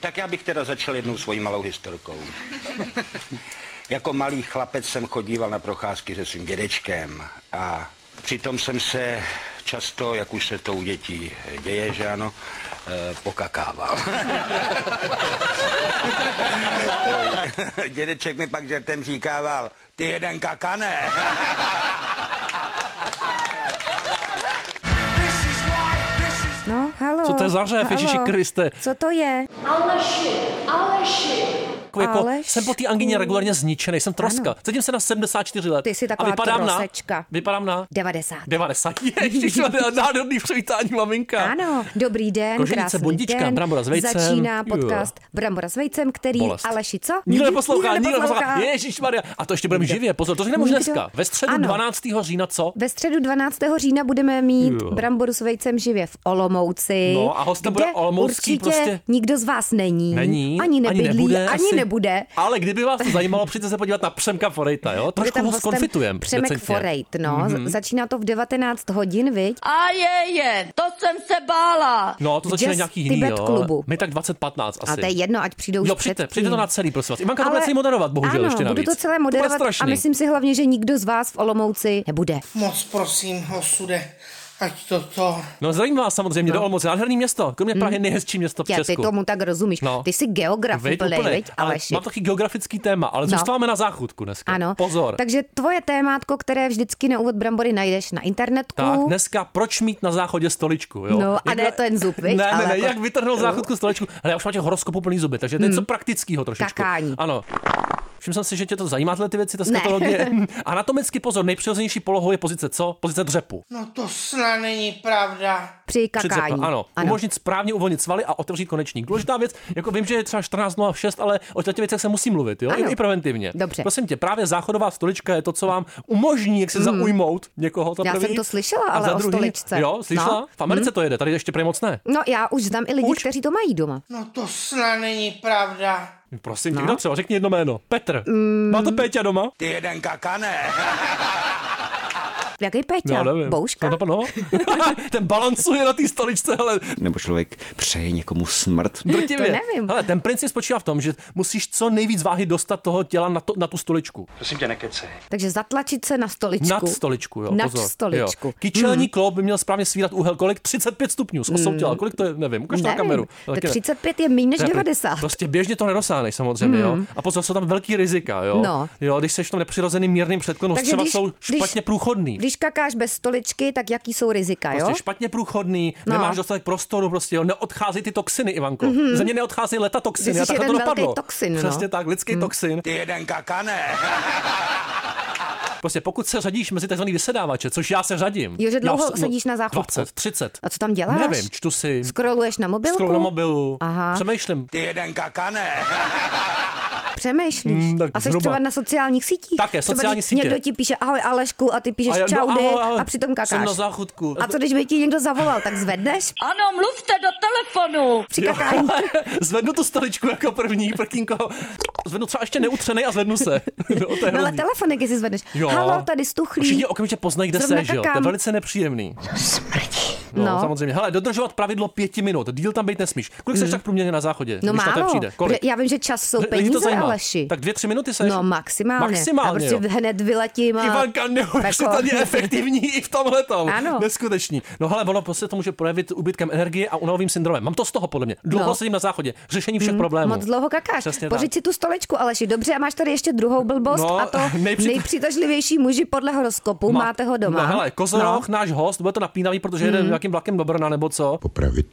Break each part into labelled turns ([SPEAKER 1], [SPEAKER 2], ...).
[SPEAKER 1] Tak já bych teda začal jednou svojí malou historkou. jako malý chlapec jsem chodíval na procházky se svým dědečkem a přitom jsem se často, jak už se to u dětí děje, že ano, eh, pokakával. Dědeček mi pak žertem říkával, ty jeden kakane.
[SPEAKER 2] No, halo.
[SPEAKER 3] Co to je za řev,
[SPEAKER 2] Halo.
[SPEAKER 3] Ježíši Kriste?
[SPEAKER 2] Co to je?
[SPEAKER 4] Aleši, Aleši.
[SPEAKER 3] Jako, jako
[SPEAKER 2] Aleš.
[SPEAKER 3] jsem po té angině regulárně zničený, jsem troska.
[SPEAKER 2] Ano.
[SPEAKER 3] Cítím se na 74 let.
[SPEAKER 2] Ty jsi taková
[SPEAKER 3] a vypadám na,
[SPEAKER 2] trosečka.
[SPEAKER 3] vypadám na
[SPEAKER 2] 90.
[SPEAKER 3] 90. Ještě nádherný přivítání, maminka.
[SPEAKER 2] Ano, dobrý den,
[SPEAKER 3] Koženice,
[SPEAKER 2] krásný
[SPEAKER 3] bondička,
[SPEAKER 2] den.
[SPEAKER 3] brambora s vejcem.
[SPEAKER 2] Začíná
[SPEAKER 3] Jo.
[SPEAKER 2] podcast Brambora s vejcem, který
[SPEAKER 3] Bolest.
[SPEAKER 2] Aleši, co?
[SPEAKER 3] Nikdo neposlouchá, nikdo
[SPEAKER 2] neposlouchá.
[SPEAKER 3] neposlouchá. Ježíš Maria. A to ještě budeme živě. Pozor, to řekneme už
[SPEAKER 2] Nikdo.
[SPEAKER 3] dneska. Ve středu
[SPEAKER 2] Ano.
[SPEAKER 3] 12. října, co?
[SPEAKER 2] Ve středu 12. října budeme mít
[SPEAKER 3] Jo.
[SPEAKER 2] bramboru s vejcem živě v Olomouci.
[SPEAKER 3] No a hostem
[SPEAKER 2] kde
[SPEAKER 3] bude olomoucký
[SPEAKER 2] určitě
[SPEAKER 3] prostě-
[SPEAKER 2] nikdo z vás není.
[SPEAKER 3] Není,
[SPEAKER 2] Ani nebydlí, ani nebude.
[SPEAKER 3] asi. Ale kdyby vás to zajímalo, přijďte se podívat na Přemka Forejta, jo?
[SPEAKER 2] Bude
[SPEAKER 3] Trošku ho
[SPEAKER 2] hostem
[SPEAKER 3] skonfitujem.
[SPEAKER 2] Přemek
[SPEAKER 3] decentně. Mhm.
[SPEAKER 2] Forejt, no. Mm-hmm. Začíná to v 19 hodin, viď?
[SPEAKER 4] A je, je, to jsem se bála.
[SPEAKER 3] No, to začíne
[SPEAKER 2] Jazz
[SPEAKER 3] nějaký jiný,
[SPEAKER 2] Tibet
[SPEAKER 3] jo.
[SPEAKER 2] klubu.
[SPEAKER 3] My tak 2015 asi.
[SPEAKER 2] A to je jedno, ať přijdou už
[SPEAKER 3] No přijďte,
[SPEAKER 2] předtím.
[SPEAKER 3] přijďte to na celý, prosím vás. Ivanka to
[SPEAKER 2] Ale-
[SPEAKER 3] bude celý moderovat, bohužel
[SPEAKER 2] ano,
[SPEAKER 3] ještě navíc.
[SPEAKER 2] budu to celé
[SPEAKER 3] bude
[SPEAKER 2] moderovat a
[SPEAKER 3] strašný.
[SPEAKER 2] myslím si hlavně, že nikdo z vás v Olomouci nebude.
[SPEAKER 5] Moc prosím, osude, ať to to...
[SPEAKER 3] No zdravím vás samozřejmě, do Olomouce, nádherný město. Kromě Prahy nejhezčí město v
[SPEAKER 2] Mm. Já, ty
[SPEAKER 3] Česku.
[SPEAKER 2] tomu tak rozumíš.
[SPEAKER 3] No.
[SPEAKER 2] Ty jsi geograf
[SPEAKER 3] Veď,
[SPEAKER 2] úplnej,
[SPEAKER 3] úplně.
[SPEAKER 2] veď,
[SPEAKER 3] ale
[SPEAKER 2] Aleši.
[SPEAKER 3] mám taky geografický téma, ale
[SPEAKER 2] No.
[SPEAKER 3] zůstáváme na záchůdku dneska.
[SPEAKER 2] Ano.
[SPEAKER 3] Pozor.
[SPEAKER 2] Takže tvoje témátko, které vždycky na úvod brambory najdeš na internetku.
[SPEAKER 3] Tak, dneska proč mít na záchodě stoličku, jo?
[SPEAKER 2] No, a ne ten zub, viď?
[SPEAKER 3] Ne, ne,
[SPEAKER 2] Ale
[SPEAKER 3] ne,
[SPEAKER 2] jako- Mm.
[SPEAKER 3] jak vytrhnout záchodku stoličku. Hele, já už mám těch horoskopů plný zuby, takže to je něco praktického trošičku.
[SPEAKER 2] Kakání.
[SPEAKER 3] Ano. Všiml jsem si, že tě to zajímá, tyhle ty věci, ta
[SPEAKER 2] Ne.
[SPEAKER 3] skatologie. Anatomicky pozor, nejpřirozenější polohou je pozice co? Pozice dřepu.
[SPEAKER 5] No to snad není pravda.
[SPEAKER 2] Při
[SPEAKER 3] Přece,
[SPEAKER 2] kakání.
[SPEAKER 3] ano, ano, umožnit správně uvolnit svaly a otevřít konečník. Důležitá věc, jako vím, že je třeba 14.06, ale o těch věcech se musí mluvit, jo? I,
[SPEAKER 2] Ano.
[SPEAKER 3] I, preventivně.
[SPEAKER 2] Dobře.
[SPEAKER 3] Prosím tě, právě záchodová stolička je to, co vám umožní, jak se zaujmout někoho. To
[SPEAKER 2] Hmm. Já
[SPEAKER 3] první.
[SPEAKER 2] jsem to slyšela,
[SPEAKER 3] A
[SPEAKER 2] ale
[SPEAKER 3] za
[SPEAKER 2] o
[SPEAKER 3] druhý,
[SPEAKER 2] stoličce.
[SPEAKER 3] Jo, slyšela?
[SPEAKER 2] No.
[SPEAKER 3] V Americe to jede, tady ještě prej moc ne.
[SPEAKER 2] No já už znám i lidi,
[SPEAKER 3] Už?
[SPEAKER 2] kteří to mají doma.
[SPEAKER 5] No to snad není pravda.
[SPEAKER 3] Prosím tě,
[SPEAKER 2] No.
[SPEAKER 3] kdo třeba, řekni jedno jméno. Petr.
[SPEAKER 2] Hmm.
[SPEAKER 3] Má to Péťa doma?
[SPEAKER 1] Ty jeden kakane.
[SPEAKER 2] Jaký Peťa? Bouška?
[SPEAKER 3] No, no, no. ten balancuje na té stoličce, ale
[SPEAKER 6] Nebo člověk přeje někomu smrt.
[SPEAKER 3] drtivě.
[SPEAKER 2] To nevím.
[SPEAKER 3] Ale ten princip spočívá v tom, že musíš co nejvíc váhy dostat toho těla na, to, na tu stoličku.
[SPEAKER 2] Takže zatlačit se na stoličku.
[SPEAKER 3] Nad stoličku, jo.
[SPEAKER 2] Nad
[SPEAKER 3] pozor.
[SPEAKER 2] stoličku. Hmm.
[SPEAKER 3] Jo. Kyčelní kloub by měl správně svírat úhel kolik? 35 stupňů z osou těla. Kolik to je? Nevím. Ukaž to na
[SPEAKER 2] Nevím.
[SPEAKER 3] kameru.
[SPEAKER 2] To
[SPEAKER 3] Taky ne.
[SPEAKER 2] 35 je méně než
[SPEAKER 3] To je pr-
[SPEAKER 2] 90.
[SPEAKER 3] Prostě běžně to nedosáhneš samozřejmě, jo. A pozor, jsou tam velký rizika, jo.
[SPEAKER 2] Hmm. No.
[SPEAKER 3] Jo, když seš v tom nepřirozeným mírným předklonu,
[SPEAKER 2] Takže
[SPEAKER 3] třeba
[SPEAKER 2] když-
[SPEAKER 3] jsou
[SPEAKER 2] když-
[SPEAKER 3] špatně průchodný.
[SPEAKER 2] Když kakáš bez stoličky, tak jaký jsou rizika, jo?
[SPEAKER 3] Prostě špatně průchodný,
[SPEAKER 2] No.
[SPEAKER 3] no. nemáš dostatek prostoru, prostě jo, neodchází ty toxiny, Ivanko. Mm-hmm. Ze mě neodchází leta toxiny,
[SPEAKER 2] Mhm. Ty
[SPEAKER 3] a
[SPEAKER 2] jsi
[SPEAKER 3] takhle to
[SPEAKER 2] jeden velký
[SPEAKER 3] dopadlo.
[SPEAKER 2] toxin, no.
[SPEAKER 3] Přesně tak, lidský mm. toxin.
[SPEAKER 1] Ty jeden kakane.
[SPEAKER 3] Prostě pokud se řadíš mezi tzv. vysedávače, což já se řadím.
[SPEAKER 2] Jo, že
[SPEAKER 3] já
[SPEAKER 2] dlouho
[SPEAKER 3] už-
[SPEAKER 2] sedíš na záchodku.
[SPEAKER 3] 20, 30.
[SPEAKER 2] A co tam děláš?
[SPEAKER 3] Nevím, čtu si.
[SPEAKER 2] Scrolluješ na mobilku?
[SPEAKER 3] Scrollu na mobilu,
[SPEAKER 2] Aha.
[SPEAKER 3] přemýšlím.
[SPEAKER 1] Ty jeden kakane.
[SPEAKER 2] Přemýšlíš.
[SPEAKER 3] Mm, tak
[SPEAKER 2] a jsi
[SPEAKER 3] zhruba.
[SPEAKER 2] třeba na sociálních sítích.
[SPEAKER 3] Také,
[SPEAKER 2] Třeba
[SPEAKER 3] sociální
[SPEAKER 2] když
[SPEAKER 3] sítě.
[SPEAKER 2] Někdo ti píše ahoj Alešku a ty píšeš
[SPEAKER 3] A já- no,
[SPEAKER 2] čau
[SPEAKER 3] ahoj,
[SPEAKER 2] ahoj,
[SPEAKER 3] ahoj.
[SPEAKER 2] a přitom kakáš.
[SPEAKER 3] Jsem na záchodku.
[SPEAKER 2] A co když by ti někdo zavolal, tak zvedneš
[SPEAKER 4] Ano, mluvte do telefonu.
[SPEAKER 2] při kakání.
[SPEAKER 3] zvednu tu stoličku jako první, prkínko. Zvednu třeba ještě neutřenej a zvednu se. no, to je
[SPEAKER 2] No ale
[SPEAKER 3] hrozný.
[SPEAKER 2] telefonek, jestli zvedneš. Halo, tady stuchlí.
[SPEAKER 3] Všichni okamžitě poznají, kde
[SPEAKER 2] Zrovna
[SPEAKER 3] se, že jo? To je
[SPEAKER 2] kakám.
[SPEAKER 3] velice nepříjemný. No,
[SPEAKER 2] No.
[SPEAKER 3] no, samozřejmě. Hele, dodržovat pravidlo pěti minut. Díl tam být nesmíš. Kolik jsi tak průměrně na záchodě?
[SPEAKER 2] Mm. No
[SPEAKER 3] když na to
[SPEAKER 2] málo.
[SPEAKER 3] přijde? Kolik?
[SPEAKER 2] protože Já vím, že čas jsou
[SPEAKER 3] Lidi to
[SPEAKER 2] peníze,
[SPEAKER 3] zajímá.
[SPEAKER 2] Aleši.
[SPEAKER 3] Tak dvě, tři minuty se.
[SPEAKER 2] No maximálně.
[SPEAKER 3] Maximálně,
[SPEAKER 2] Já prostě
[SPEAKER 3] jo.
[SPEAKER 2] hned vyletím a...
[SPEAKER 3] Ivanka neuvěřitelně
[SPEAKER 2] Tako.
[SPEAKER 3] efektivní i v tomhle tom.
[SPEAKER 2] Ano.
[SPEAKER 3] Neskutečný. No hele, ono prostě to může projevit úbytkem energie a unavovým syndromem. Mám to z toho podle mě. Dlouho
[SPEAKER 2] No. Mhm.
[SPEAKER 3] sedím na záchodě. Řešení všech problémů.
[SPEAKER 2] Moc dlouho kakáš.
[SPEAKER 3] Přesně tak.
[SPEAKER 2] Pořiď si tu stolečku, Aleši, dobře, a máš tady ještě druhou blbost
[SPEAKER 3] No,
[SPEAKER 2] a to
[SPEAKER 3] nejpři-
[SPEAKER 2] nejpřitažlivější muži podle horoskopu,
[SPEAKER 3] Ma-
[SPEAKER 2] máte ho doma. Mhm.
[SPEAKER 3] No hele, Kozoroch, náš host, bude to napínavý, protože jede nějakým vlakem do Brna nebo co.
[SPEAKER 7] Popravit.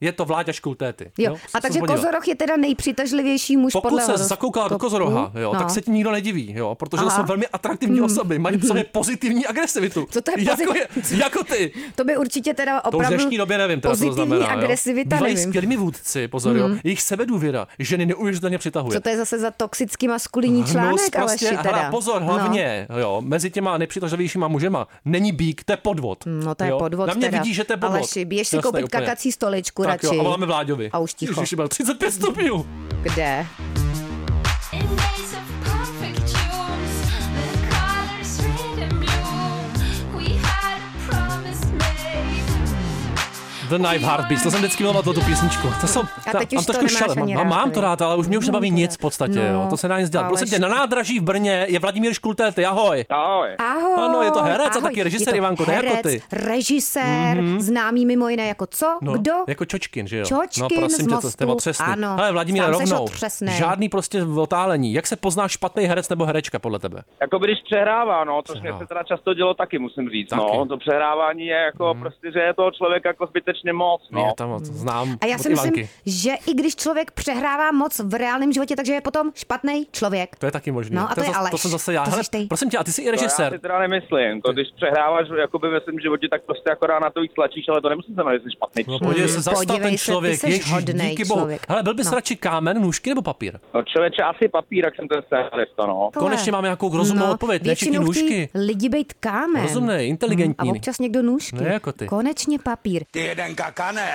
[SPEAKER 3] Je to Vláďa Škultéty.
[SPEAKER 2] No. Jo.
[SPEAKER 3] se-
[SPEAKER 2] a
[SPEAKER 3] se
[SPEAKER 2] takže
[SPEAKER 3] podívej.
[SPEAKER 2] Kozoroch je teda nejpřitažlivější muž
[SPEAKER 3] Pokud
[SPEAKER 2] podle
[SPEAKER 3] se
[SPEAKER 2] horoskopu.
[SPEAKER 3] zakoukala do kozoroha, jo,
[SPEAKER 2] no.
[SPEAKER 3] tak se ti nikdo nediví, jo, protože to
[SPEAKER 2] Aha. Hmm.
[SPEAKER 3] jsou velmi atraktivní osoby, mají v sobě pozitivní agresivitu.
[SPEAKER 2] Co to je
[SPEAKER 3] jako,
[SPEAKER 2] pozitiv-
[SPEAKER 3] je, jako ty.
[SPEAKER 2] To by určitě teda
[SPEAKER 3] To už v
[SPEAKER 2] opravdu
[SPEAKER 3] dnešní době nevím, teda, co to
[SPEAKER 2] pozitivní
[SPEAKER 3] znamená. jo.
[SPEAKER 2] agresivita,
[SPEAKER 3] Bývají
[SPEAKER 2] nevím. Hmm.
[SPEAKER 3] skvělými vůdci, pozor, jo. Jejich sebedůvěra ženy neuvěřitelně přitahuje.
[SPEAKER 2] Co to je zase za toxický maskulinní článek,
[SPEAKER 3] Hnus
[SPEAKER 2] Aleši,
[SPEAKER 3] No, prostě, hele,
[SPEAKER 2] teda. No.
[SPEAKER 3] pozor, hlavně, jo, mezi těma nepřitažlivějšíma mužema není bík, to je podvod.
[SPEAKER 2] No, no to je
[SPEAKER 3] jo.
[SPEAKER 2] podvod
[SPEAKER 3] Na mě
[SPEAKER 2] teda.
[SPEAKER 3] vidí, že to je podvod.
[SPEAKER 2] Aleši, běž si
[SPEAKER 3] Jasné,
[SPEAKER 2] koupit
[SPEAKER 3] úplně.
[SPEAKER 2] kakací stoličku
[SPEAKER 3] tak
[SPEAKER 2] radši.
[SPEAKER 3] Jo, a voláme Vláďovi.
[SPEAKER 2] A už ticho.
[SPEAKER 3] Ježiši, byl 35 stupňů.
[SPEAKER 2] Kde?
[SPEAKER 8] In days of perfect tunes, with colors red and blue, we had a promise made.
[SPEAKER 3] The Knife Heartbeats, to jsem vždycky miloval tu písničku. To jsou,
[SPEAKER 2] A
[SPEAKER 3] ta-
[SPEAKER 2] teď
[SPEAKER 3] mám
[SPEAKER 2] už to
[SPEAKER 3] trošku
[SPEAKER 2] nemáš
[SPEAKER 3] šale,
[SPEAKER 2] ani
[SPEAKER 3] No, mám,
[SPEAKER 2] rád,
[SPEAKER 3] mám to
[SPEAKER 2] viď?
[SPEAKER 3] rád, ale už mě už
[SPEAKER 2] Mám
[SPEAKER 3] nebaví
[SPEAKER 2] to
[SPEAKER 3] nic v
[SPEAKER 2] rád.
[SPEAKER 3] podstatě, jo.
[SPEAKER 2] No,
[SPEAKER 3] to se dá nic dělat.
[SPEAKER 2] ale
[SPEAKER 3] Prosím tě,
[SPEAKER 2] ještě-
[SPEAKER 3] na nádraží v Brně je Vladimír Škultéty, ahoj.
[SPEAKER 7] Ahoj.
[SPEAKER 2] Ahoj.
[SPEAKER 3] Ano, je to herec a
[SPEAKER 2] ahoj.
[SPEAKER 3] taky režisér,
[SPEAKER 2] Je to
[SPEAKER 3] Ivanko, ne
[SPEAKER 2] herec,
[SPEAKER 3] jako ty. Mhm.
[SPEAKER 2] režisér, mm-hmm. známý mimo jiné jako co?
[SPEAKER 3] No,
[SPEAKER 2] Kdo?
[SPEAKER 3] Jako Čočkin, že jo?
[SPEAKER 2] Čočkin
[SPEAKER 3] no, prosím
[SPEAKER 2] z
[SPEAKER 3] tě, to
[SPEAKER 2] Mostu,
[SPEAKER 3] jste otřesný.
[SPEAKER 2] ano.
[SPEAKER 3] Hele, Vladimír,
[SPEAKER 2] Sám seš
[SPEAKER 3] rovnou.
[SPEAKER 2] otřesnej.
[SPEAKER 3] Žádný prostě otálení. Jak se pozná špatný herec nebo herečka podle tebe?
[SPEAKER 7] Jako když přehrává, no, což mě
[SPEAKER 3] Přehrává.
[SPEAKER 7] se teda často dělo taky, musím říct, no.
[SPEAKER 3] Taky.
[SPEAKER 7] To přehrávání je jako prostě, že je toho člověk jako zbytečně moc, no.
[SPEAKER 3] Já tam znám
[SPEAKER 2] A já
[SPEAKER 3] od
[SPEAKER 2] si myslím,
[SPEAKER 3] Ivanky.
[SPEAKER 2] že i když člověk přehrává moc v reálném životě, takže je potom špatný člověk.
[SPEAKER 3] To je taky možné.
[SPEAKER 2] No a to je
[SPEAKER 3] zas-
[SPEAKER 2] Aleš.
[SPEAKER 3] To jsem zase já.
[SPEAKER 2] To
[SPEAKER 3] Hele,
[SPEAKER 2] seš ty.
[SPEAKER 3] prosím tě, a ty jsi i
[SPEAKER 7] To já
[SPEAKER 3] režisér.
[SPEAKER 7] si teda nemyslím, to když přehráváš jakoby ve svém životě, tak prostě akorát na to víc tlačíš, ale to nemusí znamenat, že jsi špatný
[SPEAKER 3] No,
[SPEAKER 7] člověk.
[SPEAKER 3] podívej
[SPEAKER 2] Hmm,
[SPEAKER 3] se, zastal
[SPEAKER 2] podívej
[SPEAKER 3] ten
[SPEAKER 2] se, ty
[SPEAKER 3] člověk.
[SPEAKER 2] seš
[SPEAKER 3] Ježíš,
[SPEAKER 2] hodnej
[SPEAKER 3] díky bohu.
[SPEAKER 2] člověk.
[SPEAKER 3] Hele, byl bys
[SPEAKER 2] No.
[SPEAKER 3] radši kámen, nůžky nebo papír?
[SPEAKER 7] No, člověče, asi papír, jak jsem ten scénarista, no.
[SPEAKER 2] Tohle.
[SPEAKER 3] Konečně máme nějakou rozumnou odpověď, ne všichni
[SPEAKER 2] No, většinou chtějí
[SPEAKER 3] nůžky.
[SPEAKER 2] lidi bejt kámen.
[SPEAKER 3] Rozumnej, inteligentní.
[SPEAKER 2] Hm. A občas někdo nůžky.
[SPEAKER 3] Ne jako ty.
[SPEAKER 2] Konečně papír.
[SPEAKER 1] Ty jeden kakane.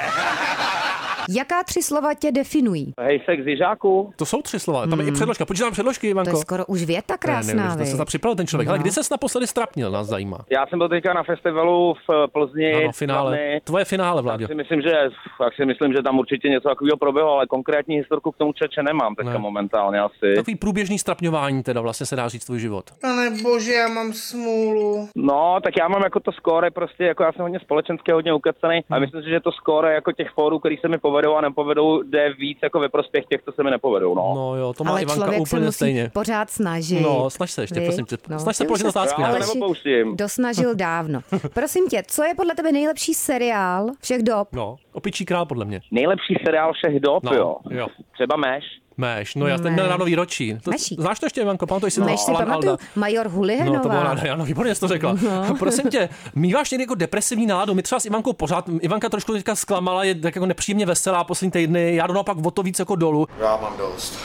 [SPEAKER 2] Jaká tři slova tě definují?
[SPEAKER 7] Hej, sex jižáku.
[SPEAKER 3] To jsou tři slova, tam je i předložka. Počítám
[SPEAKER 2] Hm.
[SPEAKER 3] předložky,
[SPEAKER 2] To
[SPEAKER 3] Ivanko.
[SPEAKER 2] je No. skoro už věta
[SPEAKER 3] ne,
[SPEAKER 2] krásná,
[SPEAKER 3] neuvěř- Jako- to se
[SPEAKER 2] viď?
[SPEAKER 3] tam připravil ten člověk. Ale kdy ses naposledy strapnil, nás zajímá.
[SPEAKER 7] Já jsem byl teďka na festivalu v eh, Plzni.
[SPEAKER 3] Ano, finále.
[SPEAKER 7] Slavny.
[SPEAKER 3] Tvoje finále, Vládě.
[SPEAKER 7] Si myslím, že, tak si myslím, že tam určitě něco takového proběhlo, ale konkrétní historku k tomu čeče nemám teďka
[SPEAKER 3] Ne.
[SPEAKER 7] ne. momentálně asi.
[SPEAKER 3] Takový průběžný strapňování teda vlastně se dá říct tvůj život.
[SPEAKER 5] Pane bože, No já mám smůlu.
[SPEAKER 7] No, tak já mám jako to skóre prostě, jako já jsem hodně společenský, hodně ukacený
[SPEAKER 3] Hmm.
[SPEAKER 7] a myslím si, že to skóre jako těch fórů, který se mi povedou a nepovedou, jde víc jako ve prospěch těch, co se mi nepovedou, no.
[SPEAKER 3] No jo, to má
[SPEAKER 2] Ale
[SPEAKER 3] Ivanka
[SPEAKER 2] člověk se
[SPEAKER 3] úplně
[SPEAKER 2] musí
[SPEAKER 3] stejně.
[SPEAKER 2] pořád snažit.
[SPEAKER 3] No, snaž se ještě,
[SPEAKER 2] Viď?
[SPEAKER 3] prosím tě. Snaž se
[SPEAKER 2] ty už
[SPEAKER 3] položit otázku,
[SPEAKER 7] Já
[SPEAKER 3] ne?
[SPEAKER 7] se
[SPEAKER 2] Aleši,
[SPEAKER 7] nepopouštím.
[SPEAKER 2] Dosnažil dávno. Prosím tě, co je podle tebe nejlepší seriál všech dob?
[SPEAKER 3] No, opičí král podle mě.
[SPEAKER 7] Nejlepší seriál všech dob,
[SPEAKER 3] No,
[SPEAKER 7] jo.
[SPEAKER 3] jo.
[SPEAKER 7] Třeba Meš.
[SPEAKER 3] Meš, no já jsem měl
[SPEAKER 2] Meš.
[SPEAKER 3] ráno výročí. To,
[SPEAKER 2] Mešík.
[SPEAKER 3] znáš to ještě, Ivanko, pamatuješ si
[SPEAKER 2] No,
[SPEAKER 3] to?
[SPEAKER 2] Než si
[SPEAKER 3] Alan
[SPEAKER 2] pamatuju, No.
[SPEAKER 3] Alda.
[SPEAKER 2] major
[SPEAKER 3] No, to byla
[SPEAKER 2] Hulihanová.
[SPEAKER 3] ráda, ano, výborně jsi to řekla. Prosím tě, míváš někdy jako depresivní náladu? My třeba s Ivankou pořád, Ivanka trošku teďka zklamala, je tak jako nepříjemně veselá poslední týdny, já jdu naopak o to víc jako dolů. Já mám dost.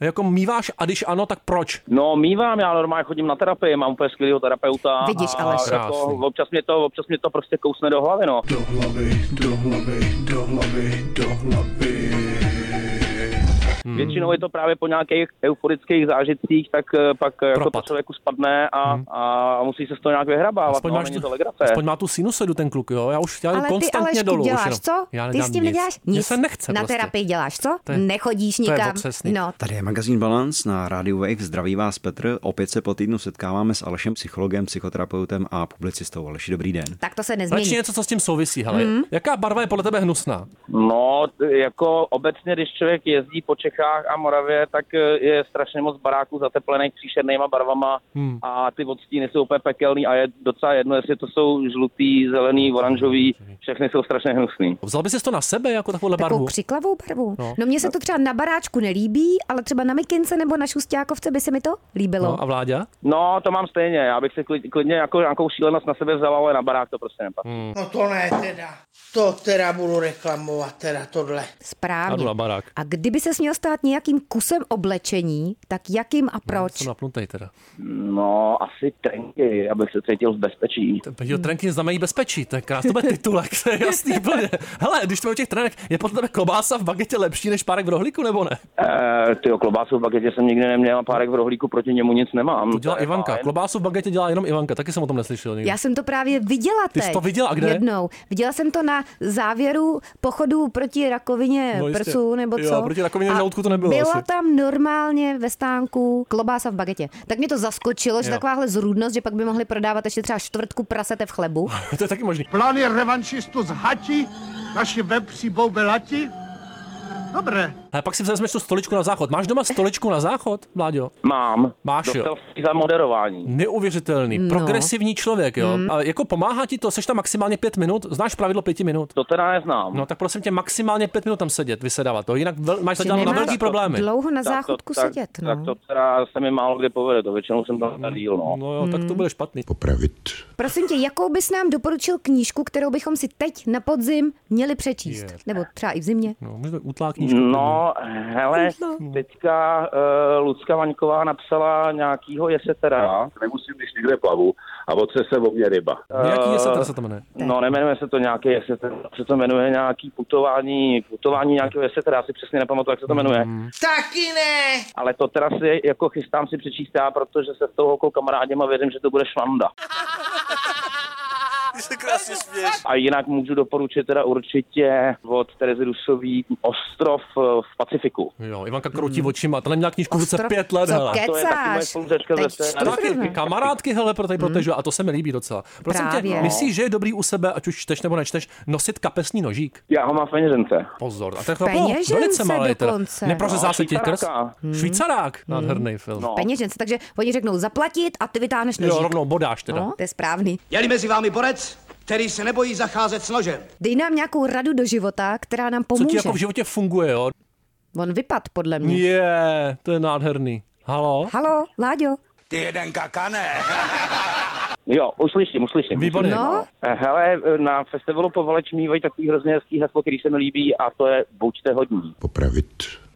[SPEAKER 3] Jako míváš a když ano, tak proč?
[SPEAKER 7] No, mívám, já normálně chodím na terapii, mám úplně skvělého terapeuta.
[SPEAKER 2] Vidíš,
[SPEAKER 7] a
[SPEAKER 2] Aleš.
[SPEAKER 7] Jako,
[SPEAKER 3] Krásný.
[SPEAKER 7] občas, mě to, občas mě to prostě kousne do hlavy, no.
[SPEAKER 9] Do hlavy, do hlavy, do hlavy, do hlavy.
[SPEAKER 7] Hmm. Většinou je to právě po nějakých euforických zážitcích, tak eh, pak eh, jako to
[SPEAKER 3] Propad.
[SPEAKER 7] člověku spadne a, hmm. a musí se z toho nějak vyhrabávat. no, není
[SPEAKER 3] tu-
[SPEAKER 7] to legrace.
[SPEAKER 3] aspoň má tu sinusoidu ten kluk, jo? Já už já jdu
[SPEAKER 2] Ale ty,
[SPEAKER 3] konstantně
[SPEAKER 2] Aleško,
[SPEAKER 3] dolů. už
[SPEAKER 2] děláš
[SPEAKER 3] jenom.
[SPEAKER 2] co?
[SPEAKER 3] Já
[SPEAKER 2] ty
[SPEAKER 3] nedám
[SPEAKER 2] s tím neděláš
[SPEAKER 3] Mně
[SPEAKER 2] nic.
[SPEAKER 3] se nechce
[SPEAKER 2] Na
[SPEAKER 3] prostě.
[SPEAKER 2] terapii děláš co?
[SPEAKER 3] To je-
[SPEAKER 2] Nechodíš
[SPEAKER 3] to je
[SPEAKER 2] nikam.
[SPEAKER 3] otřesný.
[SPEAKER 2] no,
[SPEAKER 6] Tady je magazín Balance na rádiu Wave. Zdraví vás Petr. Opět se po týdnu setkáváme s Alešem, psychologem, psychoterapeutem a publicistou. Aleši, dobrý den.
[SPEAKER 2] tak to se
[SPEAKER 3] Radši
[SPEAKER 2] nezmění.
[SPEAKER 3] něco, co s tím souvisí, hele.
[SPEAKER 2] Mhm.
[SPEAKER 3] Jaká barva je podle tebe hnusná?
[SPEAKER 7] No, t- jako obecně, když člověk jezdí po Čechách a Moravě, tak eh, je strašně moc baráků zateplených příšernýma barvama hmm. a ty odstíny jsou úplně pekelný a je docela jedno, jestli to jsou žlutý, zelený, oranžový, všechny jsou strašně hnusný.
[SPEAKER 3] Vzal bys to na sebe jako takovouhle
[SPEAKER 2] Takovou
[SPEAKER 3] barvu?
[SPEAKER 2] křiklavou barvu. No. no mně se to třeba na baráčku nelíbí, ale třeba na mikince nebo na šustákovce by se mi to líbilo.
[SPEAKER 3] No a vláďa?
[SPEAKER 7] No, to mám stejně, já bych si klid- klidně jako nějakou šílenost na sebe vzal, ale na barák to prostě nepatří. Hmm.
[SPEAKER 5] No to ne teda. To teda budu reklamovat, teda tohle.
[SPEAKER 3] Já jdu
[SPEAKER 2] Správně.
[SPEAKER 3] na barák.
[SPEAKER 2] A kdyby se měl stát nějakým kusem oblečení, tak jakým a proč?
[SPEAKER 3] Jsem napnutej teda.
[SPEAKER 7] No, asi trenky, abych se cítil v bezpečí.
[SPEAKER 3] Jo, trenky znamenají bezpečí, to je krásný, to bude titulek, to je jasný plně. Hele, když jsme u těch trenek, je podle tebe klobása v bagetě lepší než párek v rohlíku, nebo ne?
[SPEAKER 7] Eh, ty klobásu v bagetě jsem nikdy neměl a párek v rohlíku, proti němu nic nemám.
[SPEAKER 3] To dělá
[SPEAKER 7] je
[SPEAKER 3] Ivanka,
[SPEAKER 7] fajn.
[SPEAKER 3] klobásu v bagetě dělá jenom Ivanka, taky jsem o tom neslyšel nikdy.
[SPEAKER 2] Já jsem to právě viděla
[SPEAKER 3] Ty
[SPEAKER 2] teď.
[SPEAKER 3] jsi to viděla, a kde?
[SPEAKER 2] Jednou. Viděla jsem to na závěru pochodu proti rakovině
[SPEAKER 3] No
[SPEAKER 2] no
[SPEAKER 3] jistě.
[SPEAKER 2] prsu, nebo co.
[SPEAKER 3] Jo, proti rakovině
[SPEAKER 2] A
[SPEAKER 3] žaludku to nebylo
[SPEAKER 2] Byla
[SPEAKER 3] asi.
[SPEAKER 2] tam normálně ve stánku klobása v bagetě. Tak mě to zaskočilo, že
[SPEAKER 3] Jo.
[SPEAKER 2] takováhle zrůdnost, že pak by mohli prodávat ještě třeba čtvrtku prasete v chlebu.
[SPEAKER 3] To je taky možný.
[SPEAKER 9] Plány revanšistu z Hati, naši vepři boubelati. Dobré.
[SPEAKER 3] Ale pak si vezmeš tu stoličku na záchod. Máš doma stoličku na záchod, Vláďo?
[SPEAKER 7] Mám.
[SPEAKER 3] Máš, jo.
[SPEAKER 7] Dostal jsem ji za moderování.
[SPEAKER 3] Neuvěřitelný, no. progresivní člověk, jo. Mm. A jako pomáhá ti to, seš tam maximálně pět minut, znáš pravidlo pěti minut.
[SPEAKER 7] To teda neznám.
[SPEAKER 3] No tak prosím tě, maximálně pět minut tam sedět, vysedávat to, jinak vel, máš
[SPEAKER 2] Že
[SPEAKER 3] zaděláno na
[SPEAKER 2] nemáš
[SPEAKER 3] velký problémy.
[SPEAKER 2] Dlouho na
[SPEAKER 7] Tak to-
[SPEAKER 2] záchodku
[SPEAKER 7] tak,
[SPEAKER 2] sedět. No.
[SPEAKER 7] Tak to teda se mi málo kdy povede, to většinou jsem tam na díl, no.
[SPEAKER 3] No jo, tak to bude špatný.
[SPEAKER 9] Popravit.
[SPEAKER 2] Prosím tě, jakou bys nám doporučil knížku, kterou bychom si teď na podzim měli přečíst?
[SPEAKER 3] Je.
[SPEAKER 2] Nebo třeba i v zimě?
[SPEAKER 3] No, můžeme utlá knížku.
[SPEAKER 7] No, hele,
[SPEAKER 2] No.
[SPEAKER 7] teďka uh, Lucka Vaňková napsala nějakýho jesetera.
[SPEAKER 10] Nemusím, když někde plavu a otře se o mě ryba.
[SPEAKER 3] Jaký je se
[SPEAKER 7] Eh,
[SPEAKER 3] se to jmenuje?
[SPEAKER 7] No, nemenuje se to nějaký jeseter, se to jmenuje nějaký putování, putování nějakého jesetera, já si přesně nepamatuju, jak se to jmenuje.
[SPEAKER 5] Taky ne!
[SPEAKER 7] Ale to teda si jako chystám si přečíst já, protože se s tou holkou kamarádem a věřím, že to bude švanda.
[SPEAKER 11] se krásně směš.
[SPEAKER 7] A jinak můžu doporučit teda určitě od Terezy Rusový Ostrov eh, v Pacifiku.
[SPEAKER 3] Jo, Ivanka kroutí Hmm. očima, ta měla knížku v ruce pět let,
[SPEAKER 7] Co
[SPEAKER 3] hele.
[SPEAKER 7] kecáš? To je taky moje spolužačka ze Teď scénáře. to
[SPEAKER 3] Taky
[SPEAKER 7] zrovna.
[SPEAKER 3] kamarádky, hele, pro tady protežu, a to se mi líbí docela. Prosím
[SPEAKER 7] Právě.
[SPEAKER 3] tě, myslíš, že je dobrý u sebe, ať už čteš nebo nečteš, nosit kapesní nožík?
[SPEAKER 7] Já ho mám v peněžence.
[SPEAKER 3] Pozor, a ten chlap byl velice malý, teda. Neprořezá se ti krst? Švýcarák, nádherný film.
[SPEAKER 7] no.
[SPEAKER 2] Peněžence, takže oni řeknou zaplatit a ty vytáhneš nožík.
[SPEAKER 3] Jo, rovnou bodáš teda.
[SPEAKER 2] No, to je správný.
[SPEAKER 12] Je-li mezi vámi borec, který se nebojí zacházet s nožem.
[SPEAKER 2] Dej nám nějakou radu do života, která nám
[SPEAKER 3] Co
[SPEAKER 2] pomůže.
[SPEAKER 3] ti jako v životě funguje, jo?
[SPEAKER 2] On vypad, podle mě.
[SPEAKER 3] Je, to je nádherný. Halo?
[SPEAKER 2] Halo, Láďo.
[SPEAKER 1] Ty jeden kakane.
[SPEAKER 7] Jo, uslyším, uslyším. Eh,
[SPEAKER 3] Výborně.
[SPEAKER 2] No.
[SPEAKER 7] Hele, na festivalu Povaleč mývají takový hrozně hezký heslo, který se mi líbí a to je buďte hodní.
[SPEAKER 3] To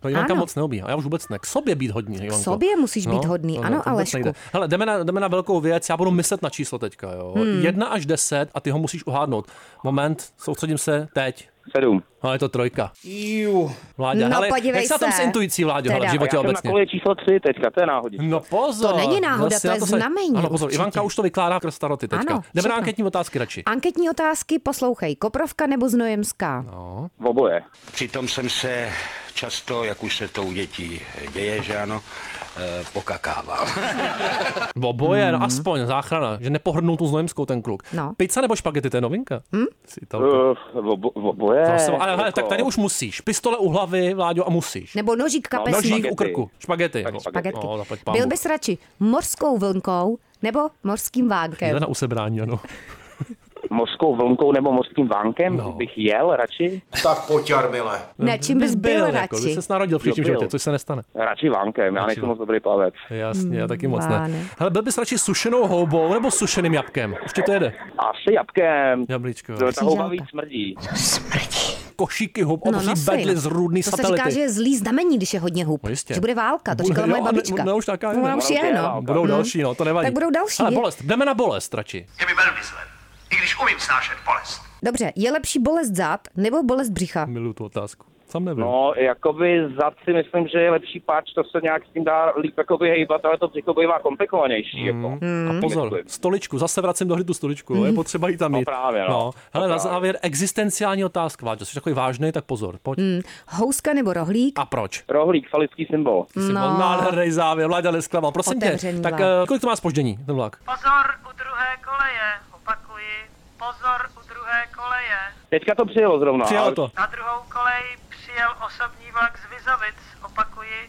[SPEAKER 3] No, Ivanka
[SPEAKER 2] Ano.
[SPEAKER 3] moc neobíhá, já už vůbec ne. K sobě být hodný, Ivanko.
[SPEAKER 2] sobě musíš být hodný,
[SPEAKER 3] to
[SPEAKER 2] ano,
[SPEAKER 3] to vůbec
[SPEAKER 2] Alešku.
[SPEAKER 3] nejde. Hele, jdeme na, jdeme na velkou věc, já budu myslet na číslo teďka, jo.
[SPEAKER 2] Hmm.
[SPEAKER 3] Jedna až deset a ty ho musíš uhádnout. Moment, soustředím se, teď.
[SPEAKER 7] Sedm.
[SPEAKER 3] Ale je to trojka.
[SPEAKER 5] Jú.
[SPEAKER 3] Vláďa,
[SPEAKER 2] No,
[SPEAKER 3] hele,
[SPEAKER 2] podívej
[SPEAKER 3] jak se na tom
[SPEAKER 2] se.
[SPEAKER 3] s intuicí, Vláďo, hele,
[SPEAKER 2] Teda.
[SPEAKER 3] v životě
[SPEAKER 7] já jsem na
[SPEAKER 3] obecně.
[SPEAKER 7] kole číslo tři teďka, to je náhodí.
[SPEAKER 3] No pozor.
[SPEAKER 2] To není náhoda,
[SPEAKER 3] zase
[SPEAKER 2] to
[SPEAKER 3] na
[SPEAKER 2] je
[SPEAKER 3] se-
[SPEAKER 2] znamení
[SPEAKER 3] Ano, pozor,
[SPEAKER 2] určitě.
[SPEAKER 3] Ivanka už to vykládá krz staroty teďka.
[SPEAKER 2] Ano,
[SPEAKER 3] Jdeme na
[SPEAKER 2] všechno.
[SPEAKER 3] anketní otázky radši.
[SPEAKER 2] Anketní otázky poslouchej. Koprovka nebo Znojemská?
[SPEAKER 3] No.
[SPEAKER 7] V oboje.
[SPEAKER 1] Přitom jsem se často, jak už se to u dětí děje, že ano, eh, pokakával.
[SPEAKER 3] Oboje,
[SPEAKER 2] Hmm.
[SPEAKER 3] no aspoň záchrana, že nepohrnul tu znojemskou ten kluk. No. Pizza nebo špagety, to je novinka.
[SPEAKER 2] Hmm?
[SPEAKER 3] Hm? Si to...
[SPEAKER 7] Eh, v obo- v oboje.
[SPEAKER 3] Zase, ale hele,
[SPEAKER 7] jako-
[SPEAKER 3] tak tady už musíš. Pistole u hlavy, Vláďo, a musíš.
[SPEAKER 2] Nebo nožík kapesní?
[SPEAKER 3] No, Nožík u krku. Špagety. no.
[SPEAKER 2] Špagety.
[SPEAKER 3] No, zaplať
[SPEAKER 2] Byl
[SPEAKER 3] pámu.
[SPEAKER 2] bys radši mořskou vlnkou nebo mořským vánkem?
[SPEAKER 3] Jde na usebrání, ano.
[SPEAKER 7] Mořskou vlnkou nebo mořským vánkem no. bych jel radši? Tak pojď, Jarmile.
[SPEAKER 2] Ne, čím bys byl,
[SPEAKER 3] Jako,
[SPEAKER 2] radši?
[SPEAKER 3] by se narodil v příštím
[SPEAKER 7] Jo, byl.
[SPEAKER 3] životě, což se nestane.
[SPEAKER 7] Radši vánkem, já nejsem moc dobrý plavec.
[SPEAKER 3] Jasně, já taky moc ne.
[SPEAKER 7] Vánek.
[SPEAKER 3] Hele, byl bys radši sušenou houbou nebo sušeným jabkem? Už ti to jede.
[SPEAKER 7] Asi jabkem.
[SPEAKER 3] Jablíčko.
[SPEAKER 7] To ta houba víc smrdí.
[SPEAKER 3] Košíky houb,
[SPEAKER 2] No,
[SPEAKER 3] obří
[SPEAKER 2] nosej.
[SPEAKER 3] bedly z rudný
[SPEAKER 2] to se říká, že
[SPEAKER 3] satelity.
[SPEAKER 2] je zlý znamení, když je hodně hub.
[SPEAKER 3] No, jistě.
[SPEAKER 2] Že bude válka, to
[SPEAKER 3] Bude-
[SPEAKER 2] říkala
[SPEAKER 3] jo,
[SPEAKER 2] moje
[SPEAKER 3] a ne-
[SPEAKER 2] babička.
[SPEAKER 3] No, už taká
[SPEAKER 2] No, ona už je, no.
[SPEAKER 3] Budou
[SPEAKER 2] No.
[SPEAKER 3] další, no, to nevadí.
[SPEAKER 2] Tak budou další.
[SPEAKER 3] Ale
[SPEAKER 2] je-
[SPEAKER 3] bolest, jdeme na bolest radši.
[SPEAKER 9] Je mi velmi zle, i když umím snášet bolest.
[SPEAKER 2] Dobře, je lepší bolest zad nebo bolest břicha?
[SPEAKER 3] Miluju tu otázku. Sam nevím.
[SPEAKER 7] No, jakoby zad si myslím, že je lepší páč, to se nějak s tím dá líp jakoby hejbat, ale to břicho bývá komplikovanější. Jako.
[SPEAKER 13] Hmm.
[SPEAKER 3] A pozor, stoličku, zase vracím do hry tu stoličku, jo, je potřeba jí tam mít. No
[SPEAKER 7] právě, no.
[SPEAKER 3] no. Hele,
[SPEAKER 7] No
[SPEAKER 3] na
[SPEAKER 7] právě.
[SPEAKER 3] závěr existenciální otázka, Váďo, jsi takový vážný, tak pozor, pojď.
[SPEAKER 2] Hmm. Houska nebo rohlík?
[SPEAKER 3] A proč?
[SPEAKER 7] Rohlík, falický symbol.
[SPEAKER 3] Jsi no.
[SPEAKER 2] No.
[SPEAKER 3] nádherný závěr, Vláďa nesklamal. Prosím
[SPEAKER 2] Otevřený
[SPEAKER 3] tě, tak
[SPEAKER 2] vlak.
[SPEAKER 3] eh, kolik to má spoždění, ten vlak?
[SPEAKER 13] Pozor u druhé koleje, opakuji. Pozor u druhé koleje.
[SPEAKER 7] Teďka to přijelo zrovna.
[SPEAKER 3] Přijelo
[SPEAKER 7] ale-
[SPEAKER 3] to.
[SPEAKER 13] Na druhou kolej přijel osobní vlak z Vizovic, opakuji.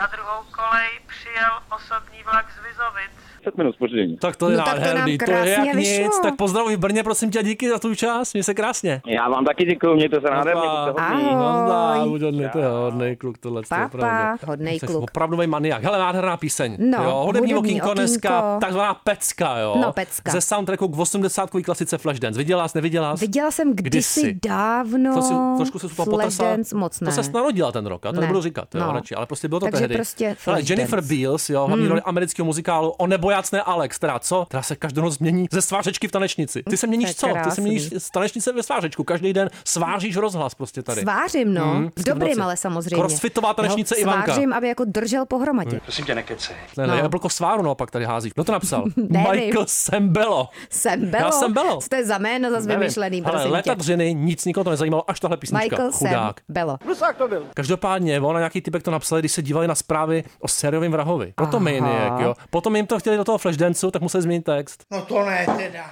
[SPEAKER 13] Na druhou kolej přijel osobní vlak z Vizovic.
[SPEAKER 7] 10 minut spoždění.
[SPEAKER 3] Tak to je
[SPEAKER 13] No tak to nám
[SPEAKER 3] nádherný, to je
[SPEAKER 13] krásně
[SPEAKER 3] jak
[SPEAKER 13] vyšlo.
[SPEAKER 3] nic. Tak pozdravuj v Brně, prosím tě, díky za tu část, měj se krásně.
[SPEAKER 7] Já vám taky děkuji, mějte se nádherně, buďte hodní.
[SPEAKER 3] Ahoj. Hodný, to je hodný kluk, tohle to je
[SPEAKER 2] Pa,
[SPEAKER 3] opravdu.
[SPEAKER 2] pa, hodnej
[SPEAKER 3] Jsi
[SPEAKER 2] kluk.
[SPEAKER 3] Opravdový maniak. Hele, nádherná píseň.
[SPEAKER 2] No,
[SPEAKER 3] jo, hudební
[SPEAKER 2] hudební
[SPEAKER 3] okýnko
[SPEAKER 2] okýnko.
[SPEAKER 3] dneska, takzvaná pecka, jo.
[SPEAKER 2] No, pecka.
[SPEAKER 3] Ze soundtracku k 80 klasice Flashdance. Viděla jsi, neviděla jsi?
[SPEAKER 2] Viděla jsem kdysi,
[SPEAKER 3] Kdysi.
[SPEAKER 2] dávno
[SPEAKER 3] To si, trošku se potrasala.
[SPEAKER 2] Flashdance, moc ne.
[SPEAKER 3] To se narodila ten rok, a to
[SPEAKER 2] Ne.
[SPEAKER 3] nebudu říkat, jo,
[SPEAKER 2] No.
[SPEAKER 3] radši, ale prostě bylo to
[SPEAKER 2] Takže
[SPEAKER 3] tehdy.
[SPEAKER 2] prostě
[SPEAKER 3] Ale
[SPEAKER 2] Flashdance.
[SPEAKER 3] Jennifer Beals, jo, hlavní
[SPEAKER 2] Hmm.
[SPEAKER 3] roli amerického muzikálu O nebojácné Alex, která co? Která se každou noc mění ze svářečky v tanečnici. Ty se
[SPEAKER 2] To
[SPEAKER 3] měníš
[SPEAKER 2] je
[SPEAKER 3] co? Ty se
[SPEAKER 2] krásný.
[SPEAKER 3] měníš z tanečnice ve svářečku. Každý den sváříš rozhlas prostě tady.
[SPEAKER 2] Svářím, no.
[SPEAKER 3] Hmm,
[SPEAKER 2] v dobrým,
[SPEAKER 3] skrboci.
[SPEAKER 2] ale samozřejmě.
[SPEAKER 3] Crossfitová tanečnice
[SPEAKER 2] no,
[SPEAKER 3] Ivanka. Hmm.
[SPEAKER 2] Svářím, aby jako držel pohromadě.
[SPEAKER 3] Prosím tě, nekecej. Ne, ne,
[SPEAKER 2] No.
[SPEAKER 3] no. jablko sváru naopak tady hází. Kdo to napsal?
[SPEAKER 2] Nevím.
[SPEAKER 3] Michael Sembelo.
[SPEAKER 2] Jsem Belo.
[SPEAKER 3] Já jsem Belo.
[SPEAKER 2] Co to je za jméno zase vymyšlený,
[SPEAKER 3] Ale
[SPEAKER 2] prosím tě.
[SPEAKER 3] letadřiny, nic nikoho to nezajímalo, až tahle písnička.
[SPEAKER 2] Michael Sam
[SPEAKER 3] Chudák.
[SPEAKER 2] Belo.
[SPEAKER 9] Rusák to byl.
[SPEAKER 3] Každopádně, on a nějaký typek to napsali, když se dívali na zprávy o sériovém vrahovi. Proto
[SPEAKER 9] Aha.
[SPEAKER 3] Maniac, jo. Potom jim to chtěli do toho Flashdanceu, tak museli změnit text.
[SPEAKER 5] No to ne teda.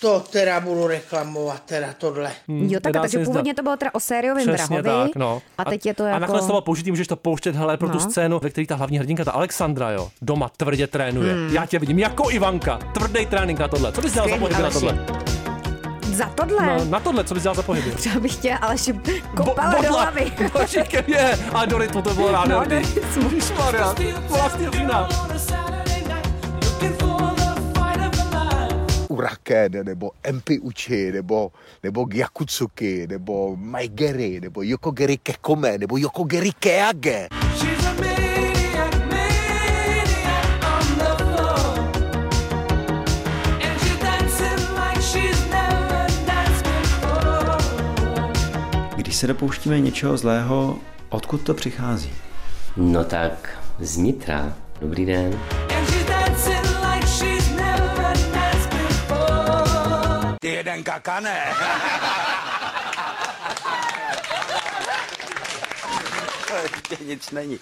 [SPEAKER 5] To teda budu reklamovat, teda tohle.
[SPEAKER 3] Hmm,
[SPEAKER 2] Jo, tak,
[SPEAKER 3] nedá
[SPEAKER 2] takže
[SPEAKER 3] se nic
[SPEAKER 2] původně
[SPEAKER 3] dělat.
[SPEAKER 2] to bylo teda o sériovém
[SPEAKER 3] Přesně
[SPEAKER 2] vrahovi.
[SPEAKER 3] tak, no.
[SPEAKER 2] A teď je to
[SPEAKER 3] A nakonec to bylo
[SPEAKER 2] jako...
[SPEAKER 3] použitý, můžeš to pouštět, hele, pro tu
[SPEAKER 2] No.
[SPEAKER 3] scénu, ve které ta hlavní hrdinka, ta Alexandra, jo, doma tvrdě trénuje.
[SPEAKER 2] Hmm.
[SPEAKER 3] Já tě vidím jako Ivanka, tvrdý trénink na tohle. Co bys dělal za
[SPEAKER 2] Skvělý,
[SPEAKER 3] pohyby na
[SPEAKER 2] Aleši.
[SPEAKER 3] tohle?
[SPEAKER 2] Za tohle.
[SPEAKER 3] No, na tohle, co bys dělal za pohyby?
[SPEAKER 2] Třeba bych tě Aleši kopala do
[SPEAKER 3] bodla.
[SPEAKER 2] hlavy.
[SPEAKER 3] Božíkem je. A do rytmu to bylo ráno.
[SPEAKER 2] No, do rytmu.
[SPEAKER 3] Ježišmarja, vlastně října.
[SPEAKER 14] Uraken, nebo Empi Uchi, nebo, nebo Yakutsuki, nebo Maigeri, nebo Yokogeri Kekome, nebo Yokogeri Keage.
[SPEAKER 15] Když se dopouštíme něčeho zlého, odkud to přichází?
[SPEAKER 16] No tak, z nitra. Dobrý den.
[SPEAKER 8] She's dancing like she's never danced before.
[SPEAKER 1] Ty jeden kakane. Ještě nic není.